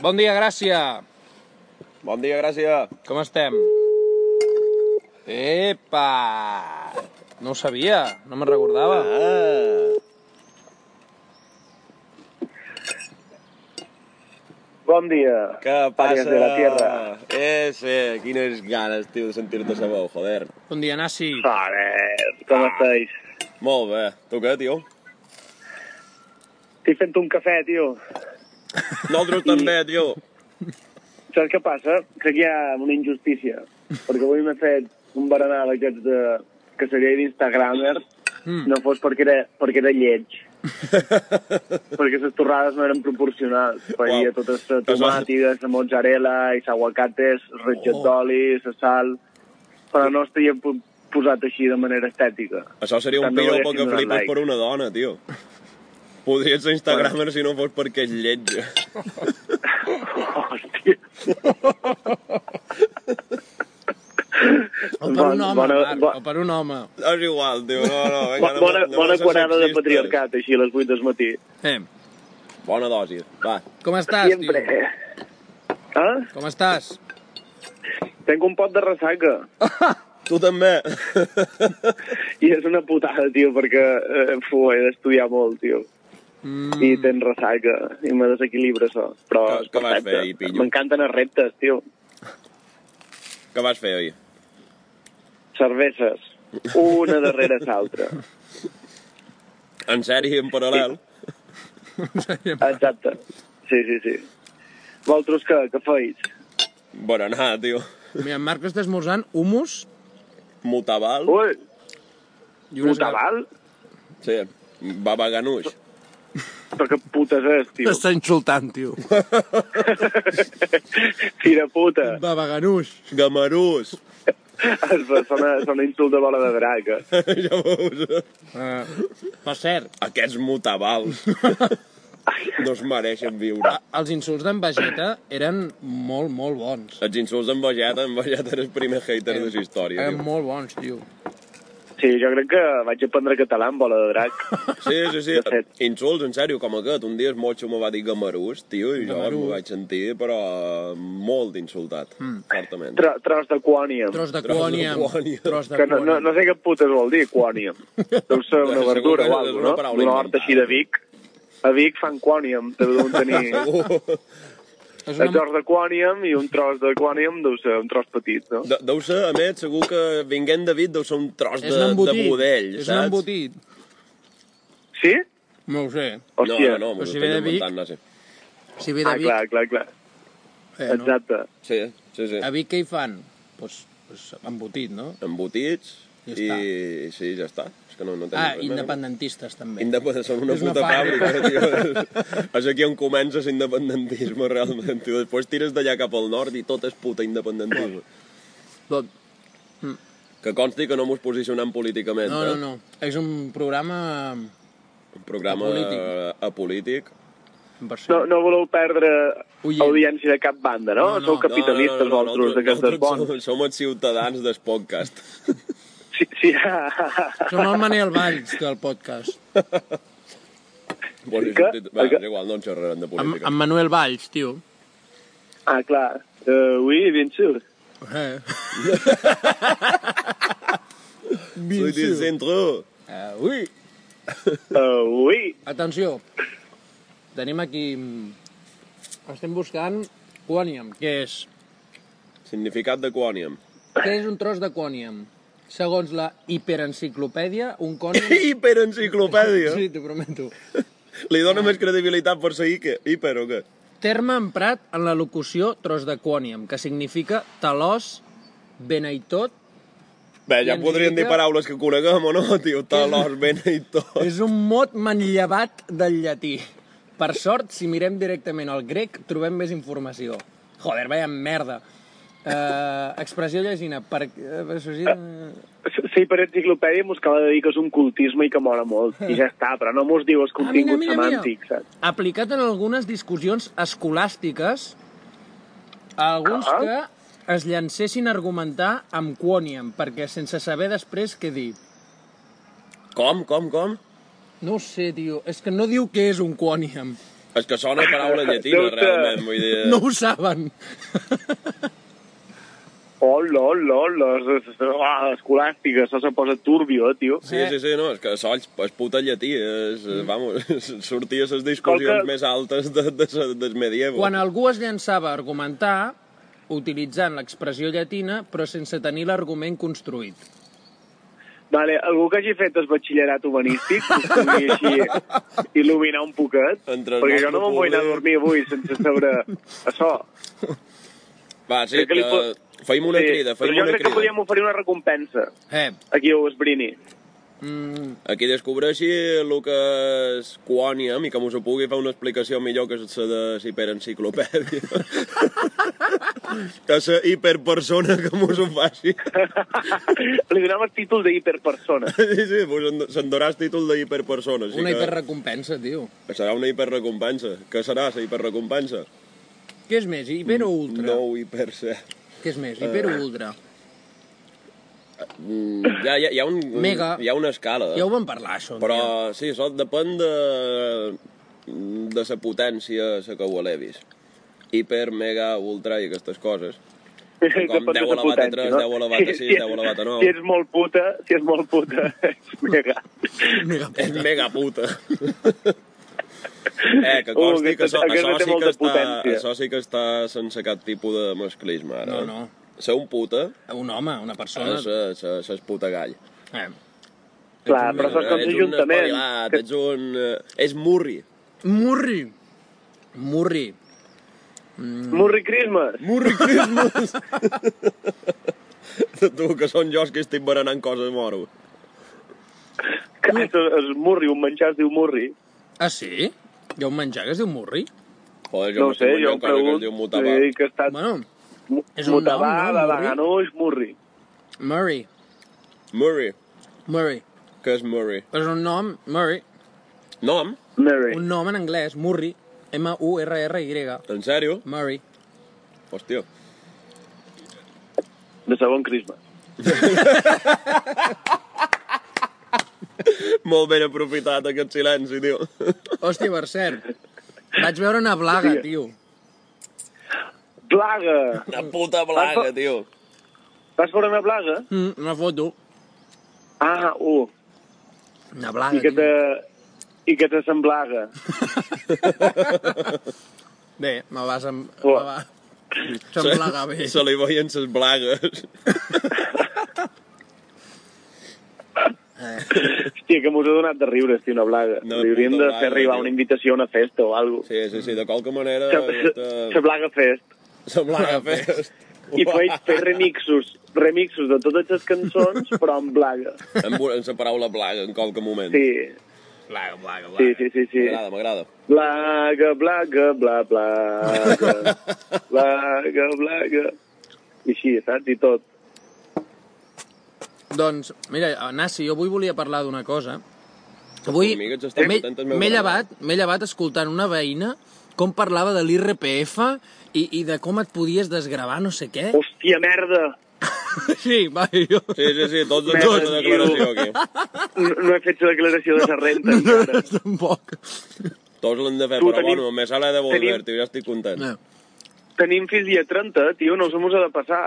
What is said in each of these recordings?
Bon dia, Gràcia. Bon dia, gràcies. Com estem? Epa! No ho sabia, no me'n recordava. Ah. Bon dia. Què passa? parias de la tierra. Eh, sí, quines ganes, tio, de sentir-te la veu, joder. Bon dia, Nasi. Ah, Joder, eh? com estáis? Molt bé. Tu què, tio? Estic fent un cafè, tio. Nosaltres també, tio. Saps què passa? Crec que hi ha una injustícia. Perquè avui m'he fet un berenar d'aquests de... que seria d'Instagramer, mm. no fos perquè era, perquè era lleig. perquè les torrades no eren proporcionals. Wow. Hi havia totes la Pues va- tomàtida, la mozzarella, i els aguacates, el ratxet Oh. d'oli, la sal... Però no es tenien po- posat així de manera estètica. Això seria un També piropo haguéssim que donat flipes like. per una dona, tio. Podria ser instagramer si no fos perquè és lleig. Hòstia. O per un home, Bona- Marc, bo- o per un home. És igual, tio. No, no, vinga, Bo- Bona, no, bona ser quarada de sexistes. patriarcat, així, a les 8 del matí. Eh, Bona dosi. Va, com estàs, Sempre. tio? Ah? Com estàs? Tenc un pot de ressaca. tu també. I és una putada, tio, perquè eh, fu, he d'estudiar molt, tio. Mm. I tens ressaca, i me desequilibra això. Però Què- és què vas perfecte. fer ahir, pillo? M'encanten els reptes, tio. Què vas fer ahir? Cerveses. Una darrere l'altra. En sèrie, en paral·lel? Exacte. Sí, sí, sí. Vosaltres què, què feis? Berenar, tio. Mira, en Marc està esmorzant humus Mutaval. Ui, i unes gafes. putaval? Sí. Baba Ganoush. Però que putes és, tio. T'està insultant, tio. Tira puta. Babaganuix. Gamarús. Es va- Sona, sona insult de bola de eh. draga. ja veus. Eh, per cert, Aquests mutabals. no es mereixen viure. a- els insults d'en Vegeta eren molt, molt bons. Els insults en Vegeta, en Vegeta era el primer hater de la història. Eren tio. molt bons, tio. Sí, jo crec que vaig aprendre català amb bola de drac. Sí, sí, De sí. fet. Insults, en sèrio, com aquest. Un dia el Mocho me va dir gamarús, tio, i jo Gamarús. m'ho vaig sentir, però eh, molt insultat, fortament. Mm. Tro, tros de quòniam. Tros de Tros de quòniam. quòniam. Tros de Que no, no, quòniam. no sé què putes vol dir, quòniam. Deu ser una Segur que verdura o és una alguna cosa, no? paraula Una horta inventada. així de Vic. A Vic fan quòniam, te deuen tenir Uh, És el una... tros de quòniam i un tros de quòniam deu ser un tros petit, no? De, deu ser, a més, segur que vinguent David deu ser un tros de, És un de embotit. budell, és un saps? embotit. Sí? No ho sé. No, Hòstia. no, no, m'ho Però si estic ve de Vic- inventant, no sé. Si ve de Ah, Vic... clar, clar, clar. eh, no? Exacte. Sí, sí, sí. A Vic què hi fan? Doncs pues, embotit, no? embotits Ja i, està. i sí, ja està. És que no, no tenim Ah, res més. independentistes també. Independent, som una És una puta fàbrica. fàbrica, tio. és aquí on comença l'independentisme, realment, tio. Després tires d'allà cap al nord i tot és puta independentisme. Tot. Que consti que no mos posicionem políticament, No, no, no. És un programa... eh? Un programa Apolític. eh, apolític. No, no voleu perdre Oient. audiència de cap banda, no? No, no. Sou capitalistes, vosaltres, d'aquestes bones. som, som els ciutadans del podcast. Sí, sí. Som el Manel Valls del podcast. Vols dir Que- subtit- Va, que- és igual, no en xerrarem de Amb, política. amb Manuel Valls, tio. Ah, clar. Uh, oui, bien sûr. Eh. Soy del centro. Eh, ui! Uh, oui. Atenció. Tenim aquí... mm, Estem buscant quòniam. Què és? Significat de quòniam. Què és un tros de quòniam? Segons la hiperenciclopèdia, un quòniam... Hiperenciclopèdia. Sí, t'ho prometo. Li dona més credibilitat per ser Iker, Iper o què? Terme emprat en la locució tros de quòniam, que significa talòs, beneitot... Bé, I ja ens podrien dir indica- paraules que coneguem o no, tio, talòs, ben i tot. És un mot manllevat del llatí. Per sort, si mirem directament al grec, trobem més informació. Joder, vaya merda. Uh, expressió llegina. Per... eh, expressió- Sí, per enciclopèdia mos acaba de dir que és un cultisme i que mola molt. I ja està, però no mos diu Ah, el mira, contingut mira, semàntic, mira. saps? Aplicat en algunes discussions escolàstiques, a alguns Ah. que es llancessin a argumentar amb quòniam, perquè sense saber després què dir. Com, com, com? No ho sé, tio. És que no diu què és un quòniam. És que sona paraula llatina, Deu ser. realment, vull dir... eh, No ho saben. Hola, hola, hola, es- es- ah, escolàstica, això se posa turbio, eh, tio. Sí, sí, sí, no, és que Solls és puta llatí, és, eh, vamos, sortia les discussions Escolta. més altes de, de, de, del medievo. Quan algú es llançava a argumentar, utilitzant l'expressió llatina, però sense tenir l'argument construït. Vale, algú que hagi fet el batxillerat humanístic, que es pugui així il·luminar un poquet, Entre el perquè jo no nostre me'n vull anar a públic. dormir avui sense saber això. Va, sí, Crec que que... li pot- Feim una Sí, crida, però feim jo una crec que crida. podíem oferir una recompensa Eh, aquí a Esbrini. mm, Aquí descobreixi el que és quòniam i que mos ho pugui fer una explicació millor que la de la hiperenciclopèdia. que la hiperpersona que mos ho faci. Li donava el títol d'hiperpersona. sí, sí, mos en- se'nduràs títol de hiperpersona. Així una que hiperrecompensa, tio. Serà una hiperrecompensa. Què serà la hiperrecompensa? Què és més, hiper o ultra? Mm, No Eh. hiperset. Què és més, hiper o ultra? Mm, ja, ja, hi ha un, un- Mega. Hi ha una escala. eh? Ja ho vam parlar, això. un dia. Però sí, això depèn de, de sa potència a la que ho elevis. Hiper, mega, ultra i aquestes coses. Com Depèn de 10 sa elevat a potència, tres, no? 10 elevat a sis, Si- si- 10 elevat a nou. Si ets molt puta, si ets molt puta, ets mega. Mega És mega puta. eh, que consti Uh, que això, aquesta- aquesta això, té sí molta que està, potència. això sí que està sense cap tipus de masclisme, ara. No, Ah. no. Ser un puta Un home, una persona... és, és, és, és puta gall. Eh. Clar, Ah, però Ets això és com un l'Ajuntament. espavilat, que- Ets un... eh, És murri. Murri. Murri. Murri Christmas. Murri Christmas! tu, que són jo els que estic berenant coses moro. Que és, és murri, un menjar es diu murri. Ah, sí? Hi ha un menjar que es diu murri? Joder, no ho sé, jo em encara que pregunto. es diu li mutabà. dic que ha estat bueno, Bueno, és un nom, mutabà, no, de murri? Vaganuix, murri. Murray. Murri. Murray. Què és Murri? És un nom, Murray. Nom? Murri. Un nom en anglès, Murray. M-U-R-R-Y. En sèrio? Murray. Hòstia. De segon Christmas. Molt ben aprofitat aquest silenci, tio. Hòstia, per cert, vaig veure una blaga, tio. Blaga! Una puta blaga, Ah, tio. Vas veure una blaga? Mm, una foto. Ah, uh, Una i blaga, que te... tio. I que te semblaga. Bé, me va... Sem... Me Uah. va... Semblaga bé. Se li veien ses blagues. Hòstia, que mos ha donat de riure, hòstia, una blaga. No, No, Li hauríem puta de blaga, fer arribar tio. una invitació a una festa o alguna cosa. Sí, sí, sí, de qualque manera... Se aquesta- blaga fest. Sa blaga fest. I fer, fer remixos, remixos de totes les cançons, però amb blaga. Amb, amb sa paraula blaga en qualque moment. Sí, Blaga, blaga, blaga. sí, sí, sí. sí. M'agrada, m'agrada. Blaga, blaga, bla, blaga. Blaga, blaga. I així, saps? I tot. Doncs, mira, eh, Nasi, jo avui volia parlar d'una cosa. Avui formigues estan m'he contentes, meu m'he gran. llevat, m'he llevat escoltant una veïna com parlava de l'IRPF i, i de com et podies desgravar no sé què. Hòstia, merda! Sí, va, jo... Sí, sí, sí, tots Merda, ens fan una tio. declaració aquí. No, no he fet la declaració de la renta, No, encara. no, tampoc. Tots l'hem de fer, Tu, però tenim- bueno, només se l'ha de volver, tenim- tio, ja estic content. No. Tenim fins dia 30, tio, no us ho ha de passar.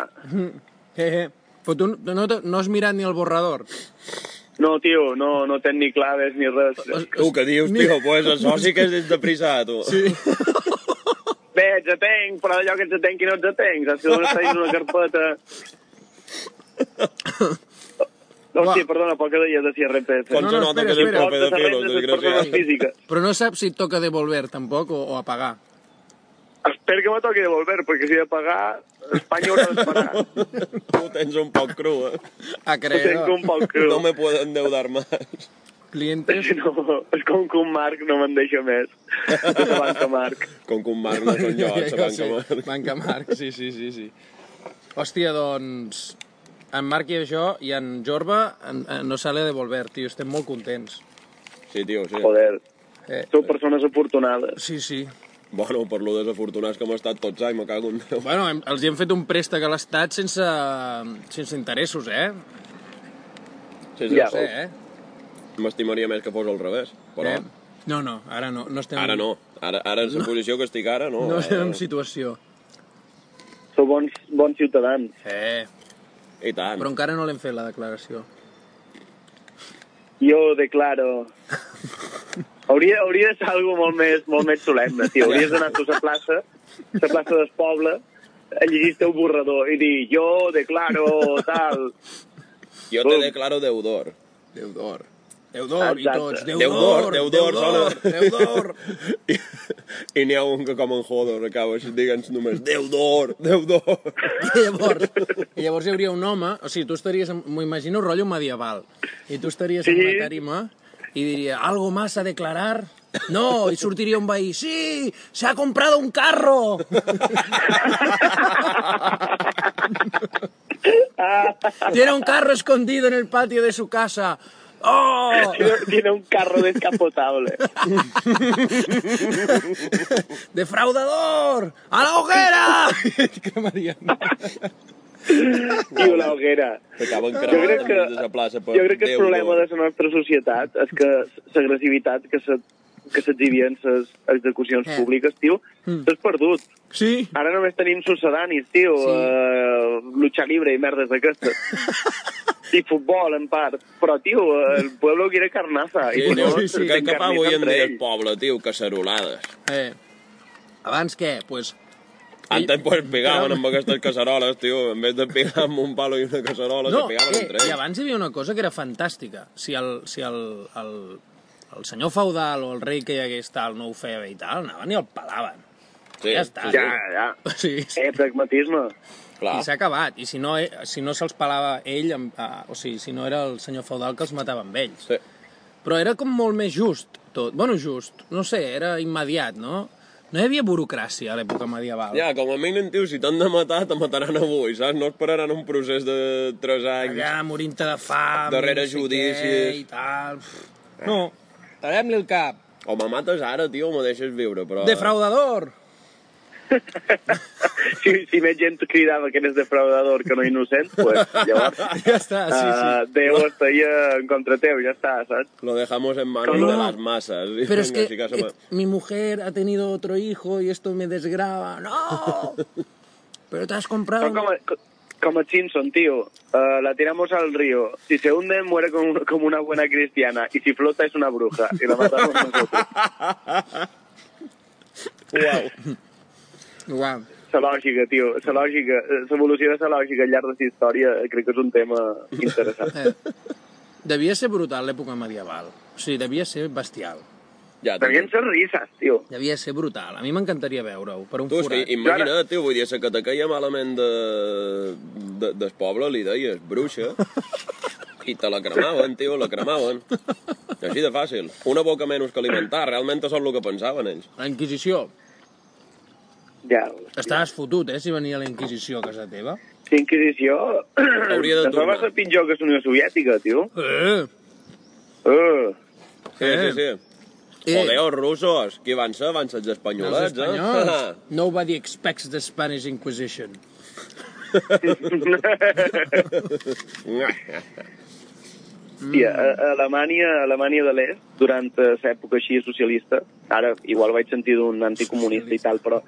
Eh, eh. Però tu no, te- no has mirat ni el borrador. No, tio, no, no tens ni claves ni res. Tu, què dius, tio? Pues això sí que és des de prisa, tu. Sí. Bé, ets atenc, però allò que ets atenc i no ets atenc, saps que d'on està dins una carpeta... Hòstia, perdona, però què deies de CRPF? Com No, se no, nota espera, que és espera. un profe Portes a de renda filos, de les persones desgraciat. físiques. Però no saps si et toca devolver, tampoc, o, o apagar. Espero que me toqui devolver, perquè si he de pagar, Espanya haurà d'esperar. Ho tens un poc cru, eh? A Ho tenc creer. un poc cru. No me puedo endeudar más. Clientes... No, és com que un Marc no me'n deixa més. De la banca Marc. Com que un Marc no són jo, Ja, se ja van ho sé. com Banca Marc, sí, sí, sí, sí. Hòstia, doncs... En Marc i jo i en Jorba en, en no sale de volver, tio. Estem molt contents. Sí, tio, sí. Joder, Eh, sou persones afortunades. sí, sí. Bueno, per lo desafortunats que hem estat tots anys, me cago en Déu. Bueno, hem, els hi hem fet un préstec a l'Estat sense, sense interessos, eh? Sí, sí, Ja. No sé, sí. eh? M'estimaria més que fos al revés, Oh, però... eh? No, no, ara no. no estem... Ara no. Ara, ara en la posició que estic ara, no. No estem Ara- en situació. Sou bons, bons ciutadans. Eh. I tant. Però encara no l'hem fet, la declaració. Jo declaro... Hauria, hauria de ser algo molt més, molt més solemne, tio. Hauries d'anar tu a la plaça, a la plaça del poble, a llegir el teu borrador i dir jo declaro tal... Jo te declaro deudor. Déu d'or. Déu d'or i Exacte. tots. Déu Déu d'or, d'or, Déu Déu d'or, d'or, sona. Déu d'or. I, i n'hi ha un que com en Hodor acaba digue'ns només deudor, deudor. I llavors, i llavors hi hauria un home, o sigui, tu estaries, en- m'ho imagino, rotllo medieval, i tu estaries en Sí. una tarima i diria, algo más a declarar? No, i sortiria un veí, sí, se ha comprado un carro! Tiene un carro escondido en el patio de su casa. Oh! Tiene- Tiene un carro descapotable. ¡Defraudador! ¡A la hoguera! Et cremaríem. Tio, la hoguera. T'acaben Jo crec cremant que, de la plaça per jo crec que el deudor. problema de la nostra societat és que l'agressivitat que se- que s'exhibia en les execucions Eh. públiques, tio, s'ha perdut. Sí, Ara només tenim sucedanis, tio, Sí. sí. eh, lucha libre i merdes d'aquestes. I futbol, en part. Però, tio, el pueblo quiere carnaza. Sí, I no, sí, sí, sí. sí, que, que fa avui en dia el pop. poble, tio, casserolades. Eh, abans què? Pues, Antes pues pegaven Però- amb aquestes casseroles, tio. En vez de pegar amb un palo i una casserola, no, se pegaven eh, entre ells. i abans hi havia una cosa que era fantàstica. Si el, si el, el, el senyor feudal o el rei que hi hagués tal no ho feia bé i tal, anaven i el pelaven. Sí, ja està. Ja, ja. O sigui, sí. Eh, pragmatisme. Clar. I s'ha acabat. I si no, eh, si no se'ls pelava ell, amb, ah, o sigui, si no era el senyor feudal que els matava amb ells. Sí. Però era com molt més just tot. Bueno, just, no sé, era immediat, no? No hi havia burocràcia a l'època medieval. Ja, com a mínim, tio, si t'han de matar, te mataran avui, saps? No esperaran un procés de 3 anys. allà morint-te de fam, Darrere no sé judicis. Eh. què, i tal. No, talem-li el cap. O me mates ara, tio, o me deixes viure, però... Defraudador! Si, si més gent cridava que eres defraudador que no innocent, pues, llavors... Ja està, Ah, sí, sí. eh, Déu estaria en contra teu, ja està, saps? Lo dejamos en manos No. de las masas. Pero es que Así se eh, me- mi mujer ha tenido otro hijo y esto me desgraba. ¡No! Pero te has comprado... Son como, como Simpson, tío. Eh, la tiramos al río. Si se hunde, muere como, un- como una buena cristiana. Y si flota, es una bruja. Y la matamos nosotros. Uau. Guau. La lògica, tio. La lògica. eh, L'evolució de la lògica al llarg de la història eh, crec que és un tema interessant. Eh. Devia ser brutal l'època medieval. O sigui, devia ser bestial. Ja, tio. Tenien ser risas, tio. Devia ser brutal. A mi m'encantaria veure-ho per un Tu, és que forat. imagina't, tio, vull dir, la que te caia malament de, de, del poble, li deies bruixa, i te la cremaven, tio, la cremaven. Així de fàcil. Una boca menys que alimentar, realment és el que pensaven ells. La Inquisició. Ja. Estaves fotut, eh, si venia la Inquisició a casa teva. La Inquisició... Hauria de Això tornar. va ser pitjor que la Unió Soviètica, tio. Eh! Sí, sí, Eh. sí. Eh. Joder, els russos, qui van ser? Van ser els Els espanyolets, espanyols. eh? Nobody expects the Spanish Inquisition. Sí, a, a Alemanya, a Alemanya de l'est, durant eh, l'època així socialista, ara igual vaig sentir d'un anticomunista i tal, però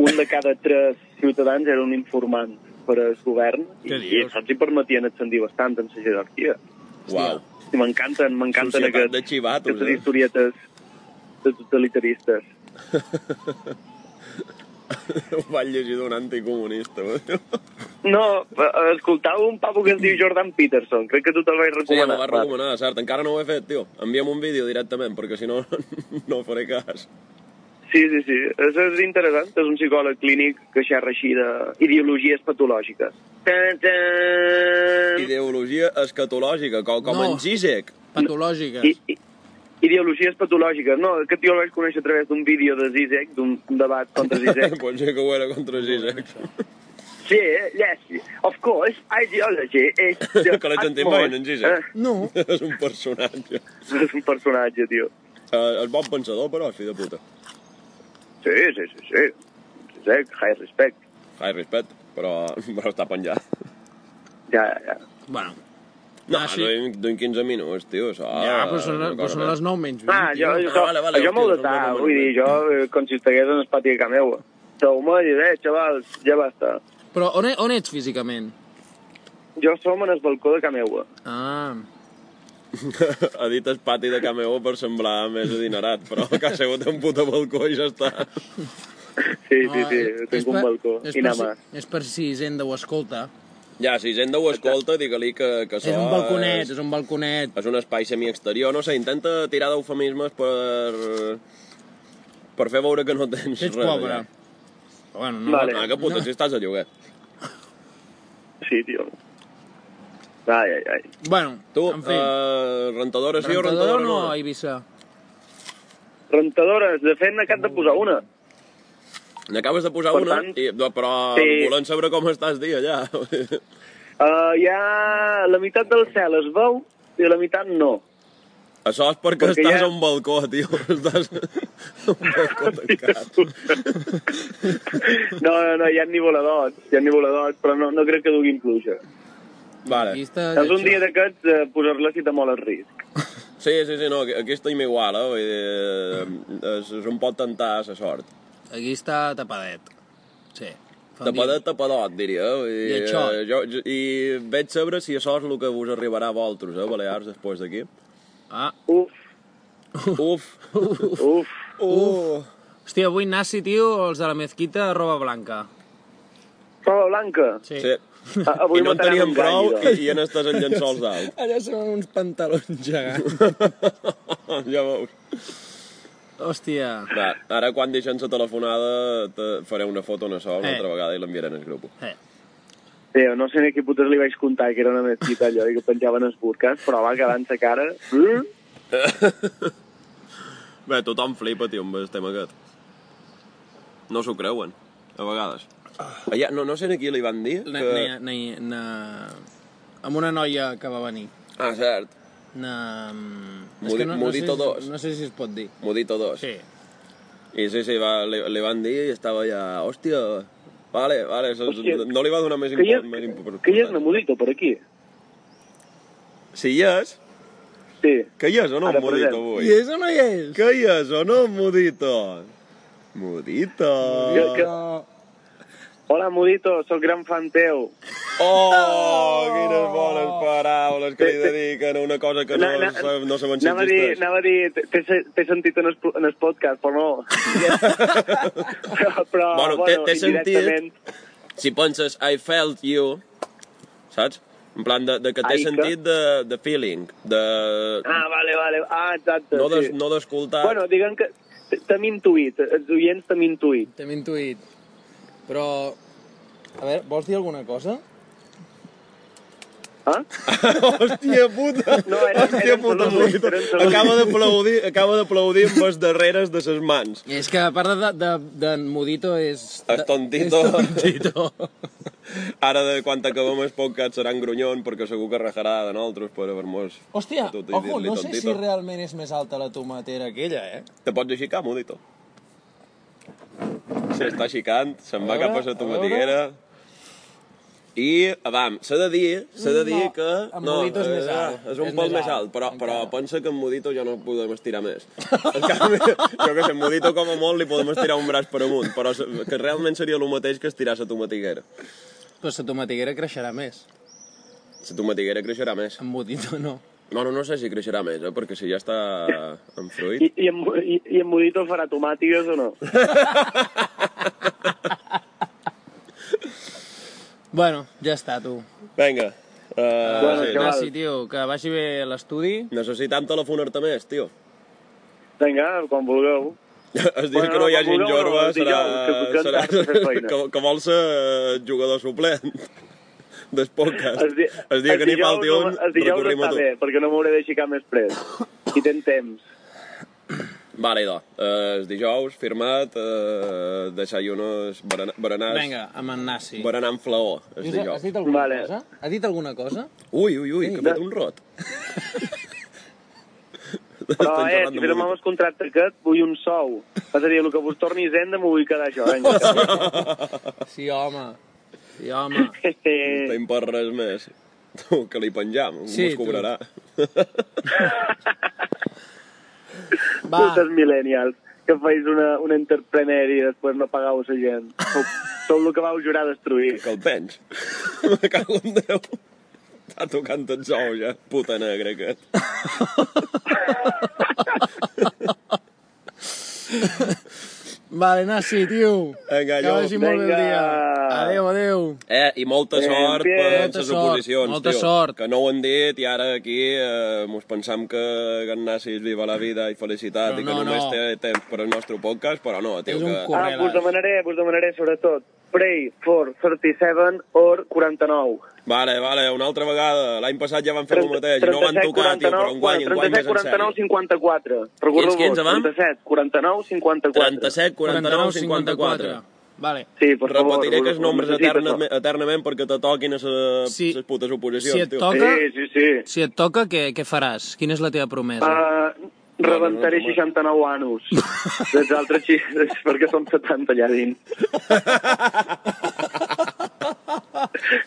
un de cada tres ciutadans era un informant per al govern i, Què i dius? això els hi permetien ascendir bastant en la jerarquia. Uau. I m'encanten, m'encanten Societat aquests- de xivatos, aquestes eh? historietes de totalitaristes. Ho vaig llegir d'un anticomunista. eh? tio. No, eh, escoltava un papo que es diu Jordan Peterson, crec que tu te'l vas Sí, me recomanar. va recomanar, cert. Encara no ho he fet, tio. Envia'm un vídeo directament, perquè si no, no faré cas. Sí, sí, sí. És, és interessant. És un psicòleg clínic que xerra així d'ideologies patològiques. Tan, tan. Ideologia escatològica, com, com No. en Zizek. Patològiques. I, i, ideologies patològiques. No, aquest tio el vaig conèixer a través d'un vídeo de Zizek, d'un debat contra Zizek. Pot ser que ho era contra Zizek. sí, eh? yes, of course, ideology is... the Que la gent utmost- imagina en Zizek. Eh, No. És un personatge. És un personatge, tio. Eh, és bon pensador, però, fill de puta. Sí, sí, sí, sí. Zizek, high respect. Hi, respect, però, però està penjat. Ja, ja, ja. Bueno, No, Ah, ah, sí? sí? duim, duim 15 minuts, tio, això... Ja, però són, però són les 9 menys 20, Ah, jo, tio. jo, ah, vale, vale, jo m'ho hòstia, de tal, no, no, vull no. dir, jo eh, com si estigués en el pati de Cameu. Sou-me i bé, xavals, "Eh, ja basta. Però on, e- on ets físicament? Jo som en el balcó de Cameu. Ah, ha dit el pati de Cameo per semblar més adinerat, però que ha sigut un puto balcó i ja està. Sí, sí, Ah, sí, és- és tinc un per- balcó. És I per, anar si, mà. és per si Hisenda ho escolta. Ja, si gent ho escolta, digue-li que, que això... és un balconet, És, és un balconet. és un espai semi-exterior, no sé, intenta tirar d'eufemismes per... per fer veure que no tens Si ets res. pobre. allà. Bueno, no, Vale. Ah, que puta, si estàs a lloguer. Sí, tio. Ai, ai, ai. Bueno, Tu, en fi. eh, rentadora sí o rentador rentadora o no? Eh. no, a Eivissa? Rentadores, de fet n'he cap de posar una. N'acabes de posar Per una, tant- i, no, però Sí. volem saber com estàs dia, ja. Uh, hi ha la meitat del cel es veu i la meitat no. Això és perquè, Perquè estàs ja- a un balcó, tio. Estàs a un balcó tancat. No, no, no, hi ha nivoladots, hi ha nivoladots, però no, no crec que duguin pluja. Vale. Aquí està, És un dia d'aquests eh, posar-la si te molt el risc. Sí, sí, sí, no, aquí- aquí estem igual, eh? Vull dir, eh, es, es un pot tentar la sort. Aquí està tapadet. Sí. Fa un Tapadet, tapadot, diria. eh? Vull dir, I això? eh, Jo, jo, I veig saber si això és el que vos arribarà a vosaltres, eh, Balears, després d'aquí. dia- Ah, Uf, Uf. oh. Uf. uf. Uf. hòstia, avui nazi, tio, els de la mezquita, roba blanca. Roba blanca. Sí. Sí. A, avui I no en mataran teníem un prou gall, i, idò. i en estàs en llençols dalt. Allà són uns pantalons gegants. ja veus. Hòstia. Va, ara quan deixen la telefonada te faré una foto una sola una Eh. altra vegada i l'enviaré al grup. Eh. Sí, no sé ni a qui putes li vaig contar que era una mesquita allò i que penjaven els burques, però va quedant sa cara. Mm? Bé, tothom flipa, tio, amb el tema aquest. No s'ho creuen, a vegades. Allà, Ah, no, no sé a qui li van dir Na, que... na, na, na, amb una noia que va venir. Ah, cert, Na... Mudi- és que no, no, sé, Mudito si- dos. no sé si es pot dir. Modito 2. Sí. I sí, sí, va, li, li van dir i estava allà... Hòstia, vale, vale, so, Hòstia, no li va donar més Que hi import. és, més impor- que hi és una mudito per aquí. Sí, hi és. Sí. Que hi és o no, Ara un Modito, present. I avui? és o no hi és? Que hi és o no, un Modito? Modito. Jo- que- Ah. Hola, Mudito, sóc gran fan teu. Oh, quines bones paraules que li dediquen a una cosa que no, Na- na- no, no saben ser Anava a dir, justes. anava a dir t'he- t'he t'he sentit en el, en el podcast, però no. però, però, Bueno, t'he- bueno, t'he sentit. indirectament, Si penses, I felt you, saps? En plan, de, de que té Ai, que- sentit de, de feeling, de... Ah, vale, vale. Ah, exacte. No sí. des- no d'escoltar... Bueno, diguem que t- t'hem intuït, els oients t'hem intuït. T'hem intuït. Però... A veure, vols dir alguna cosa? Eh? Hòstia puta! No, era- Hòstia eren puta, saludos, puta. eren saludos. Acaba d'aplaudir, acaba d'aplaudir amb les darreres de ses mans. I és que a part de, de, de Mudito és... És tontito. És tontito. Ara, de quan acabem el podcast, serà en grunyon, perquè segur que rajarà de nosaltres per haver-nos... Hòstia, Tu t'hi ojo, dir-li no sé si tontito. realment és més alta la tomatera aquella, eh? Te pots aixecar, Mudito? S'està aixecant, se'n va A veure, cap a la a tomatiguera. I, vam, s'ha de dir, s'ha de dir No, que... eh, en Mudito és més alt, És un és pèl més més alt, alt, però, però encara. pensa que en Mudito ja no podem estirar més. En canvi, jo que sé, en Mudito com a molt li podem estirar un braç per amunt, però se- que realment seria el mateix que estirar la tomatiguera. Però la tomatiguera creixerà més. La tomatiguera creixerà més. En Mudito no. Bueno, no sé si creixerà més, eh, perquè si ja està en fruit... I, i, en, Mu- i, i en Mudito farà tomàtiques o no? Bueno, ja està, tu. Vinga. Uh, Bueno, sí. que va. Gràcies, tio, que vagi bé l'estudi. Necessitam telefonar-te més, tio. Vinga, quan vulgueu. Es diu Bueno, que no hi ha no, gent no, no, jorba, no, serà, dijous, que serà, busquen tasques a fer feina. que, que vol ser eh, jugador suplent del podcast. di- Es diu que n'hi dijous falti un, no- El dijous recorrim a està tu. bé, perquè no m'hauré d'aixecar més pres. I ten temps. Vale, idò. Eh, el dijous, firmat, eh, desayunos, berenar, berenars, Vinga, amb en Nasi. berenar amb flaó, el Lluís, has dijous. dit alguna Vale. cosa? Has dit alguna cosa? Ui, ui, ui, que ha fet un rot. Però, Estan eh, xerrant si de firmam el contracte aquest, vull un sou. És a dir, el que vos torni Hisenda m'ho vull quedar jo. Vinga. Sí, home. Sí, home. No Este... tenim per res més. Tu, que li penjam, Sí, sí, mos tu. cobrarà. Va, Vosaltres millennials, que feis una, una entrepreneur i després no pagau la gent. Sou, sou el que vau jurar destruir. Que el tens. Me cago en Déu. Està tocant el sou ja, puta negra aquest. vale, Nasi, tio. Vinga, que jo. vagi molt bé el Vinga. dia. Adéu, adéu. Eh, i molta Bien, sort bien. per Molta les sort, oposicions, molta tio. sort. Que no ho han dit i ara aquí eh, mos pensam que Ganassi viva la vida i felicitat Però i que no, només no. té temps per al nostre podcast, però no, tio, És un que... cul. Ah, vos demanaré, vos demanaré sobretot Pray for 37 or 49. Vale, vale, una altra vegada. L'any passat ja van fer el mateix i no van tocar, tio, però en guany, en guany més 37, en sèrio. 49, 54. Quins, quins, Recordeu-vos, vam? 37, 49, 54. 37, 49, 54. Vale. Sí, per favor. Repetiré vos- aquests vos nombres necessito, eternament, eternament perquè te toquin a les Si- sí. putes oposicions, Si et tio. això. toca, Sí, sí, sí. si et toca què, què faràs? Quina és la teva promesa? Uh, rebentaré No, no, no, 69 anus. Dels altres xifres, perquè són 70 allà dins.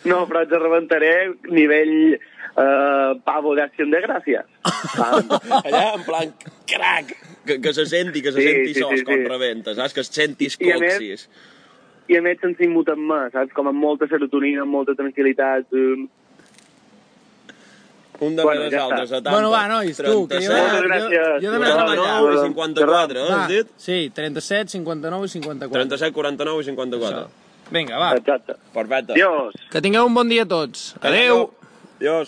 No, però els rebentaré nivell uh, pavo d'acció de gràcies. Allà, en plan, crac! Que, que se senti, que se Sí, senti sí, sols sí, quan sí. rebenta, saps? Que es sentis I a més- coxis. I a més se'n s'immuten més, saps? Com amb molta serotonina, amb molta tranquil·litat. Um, Un de Bueno, bueno, les ja està. altres, 70. Bueno, va, nois, tu, que jo- Moltes 37, gràcies. jo he d'anar a treballar. 49 i 54, eh, Va, has dit? Sí, 37, 59 i 54. 37, 49 i 54. Vinga, va. Exacte. Perfecte. Adiós. Que tingueu un bon dia a tots. Adeu. Adiós.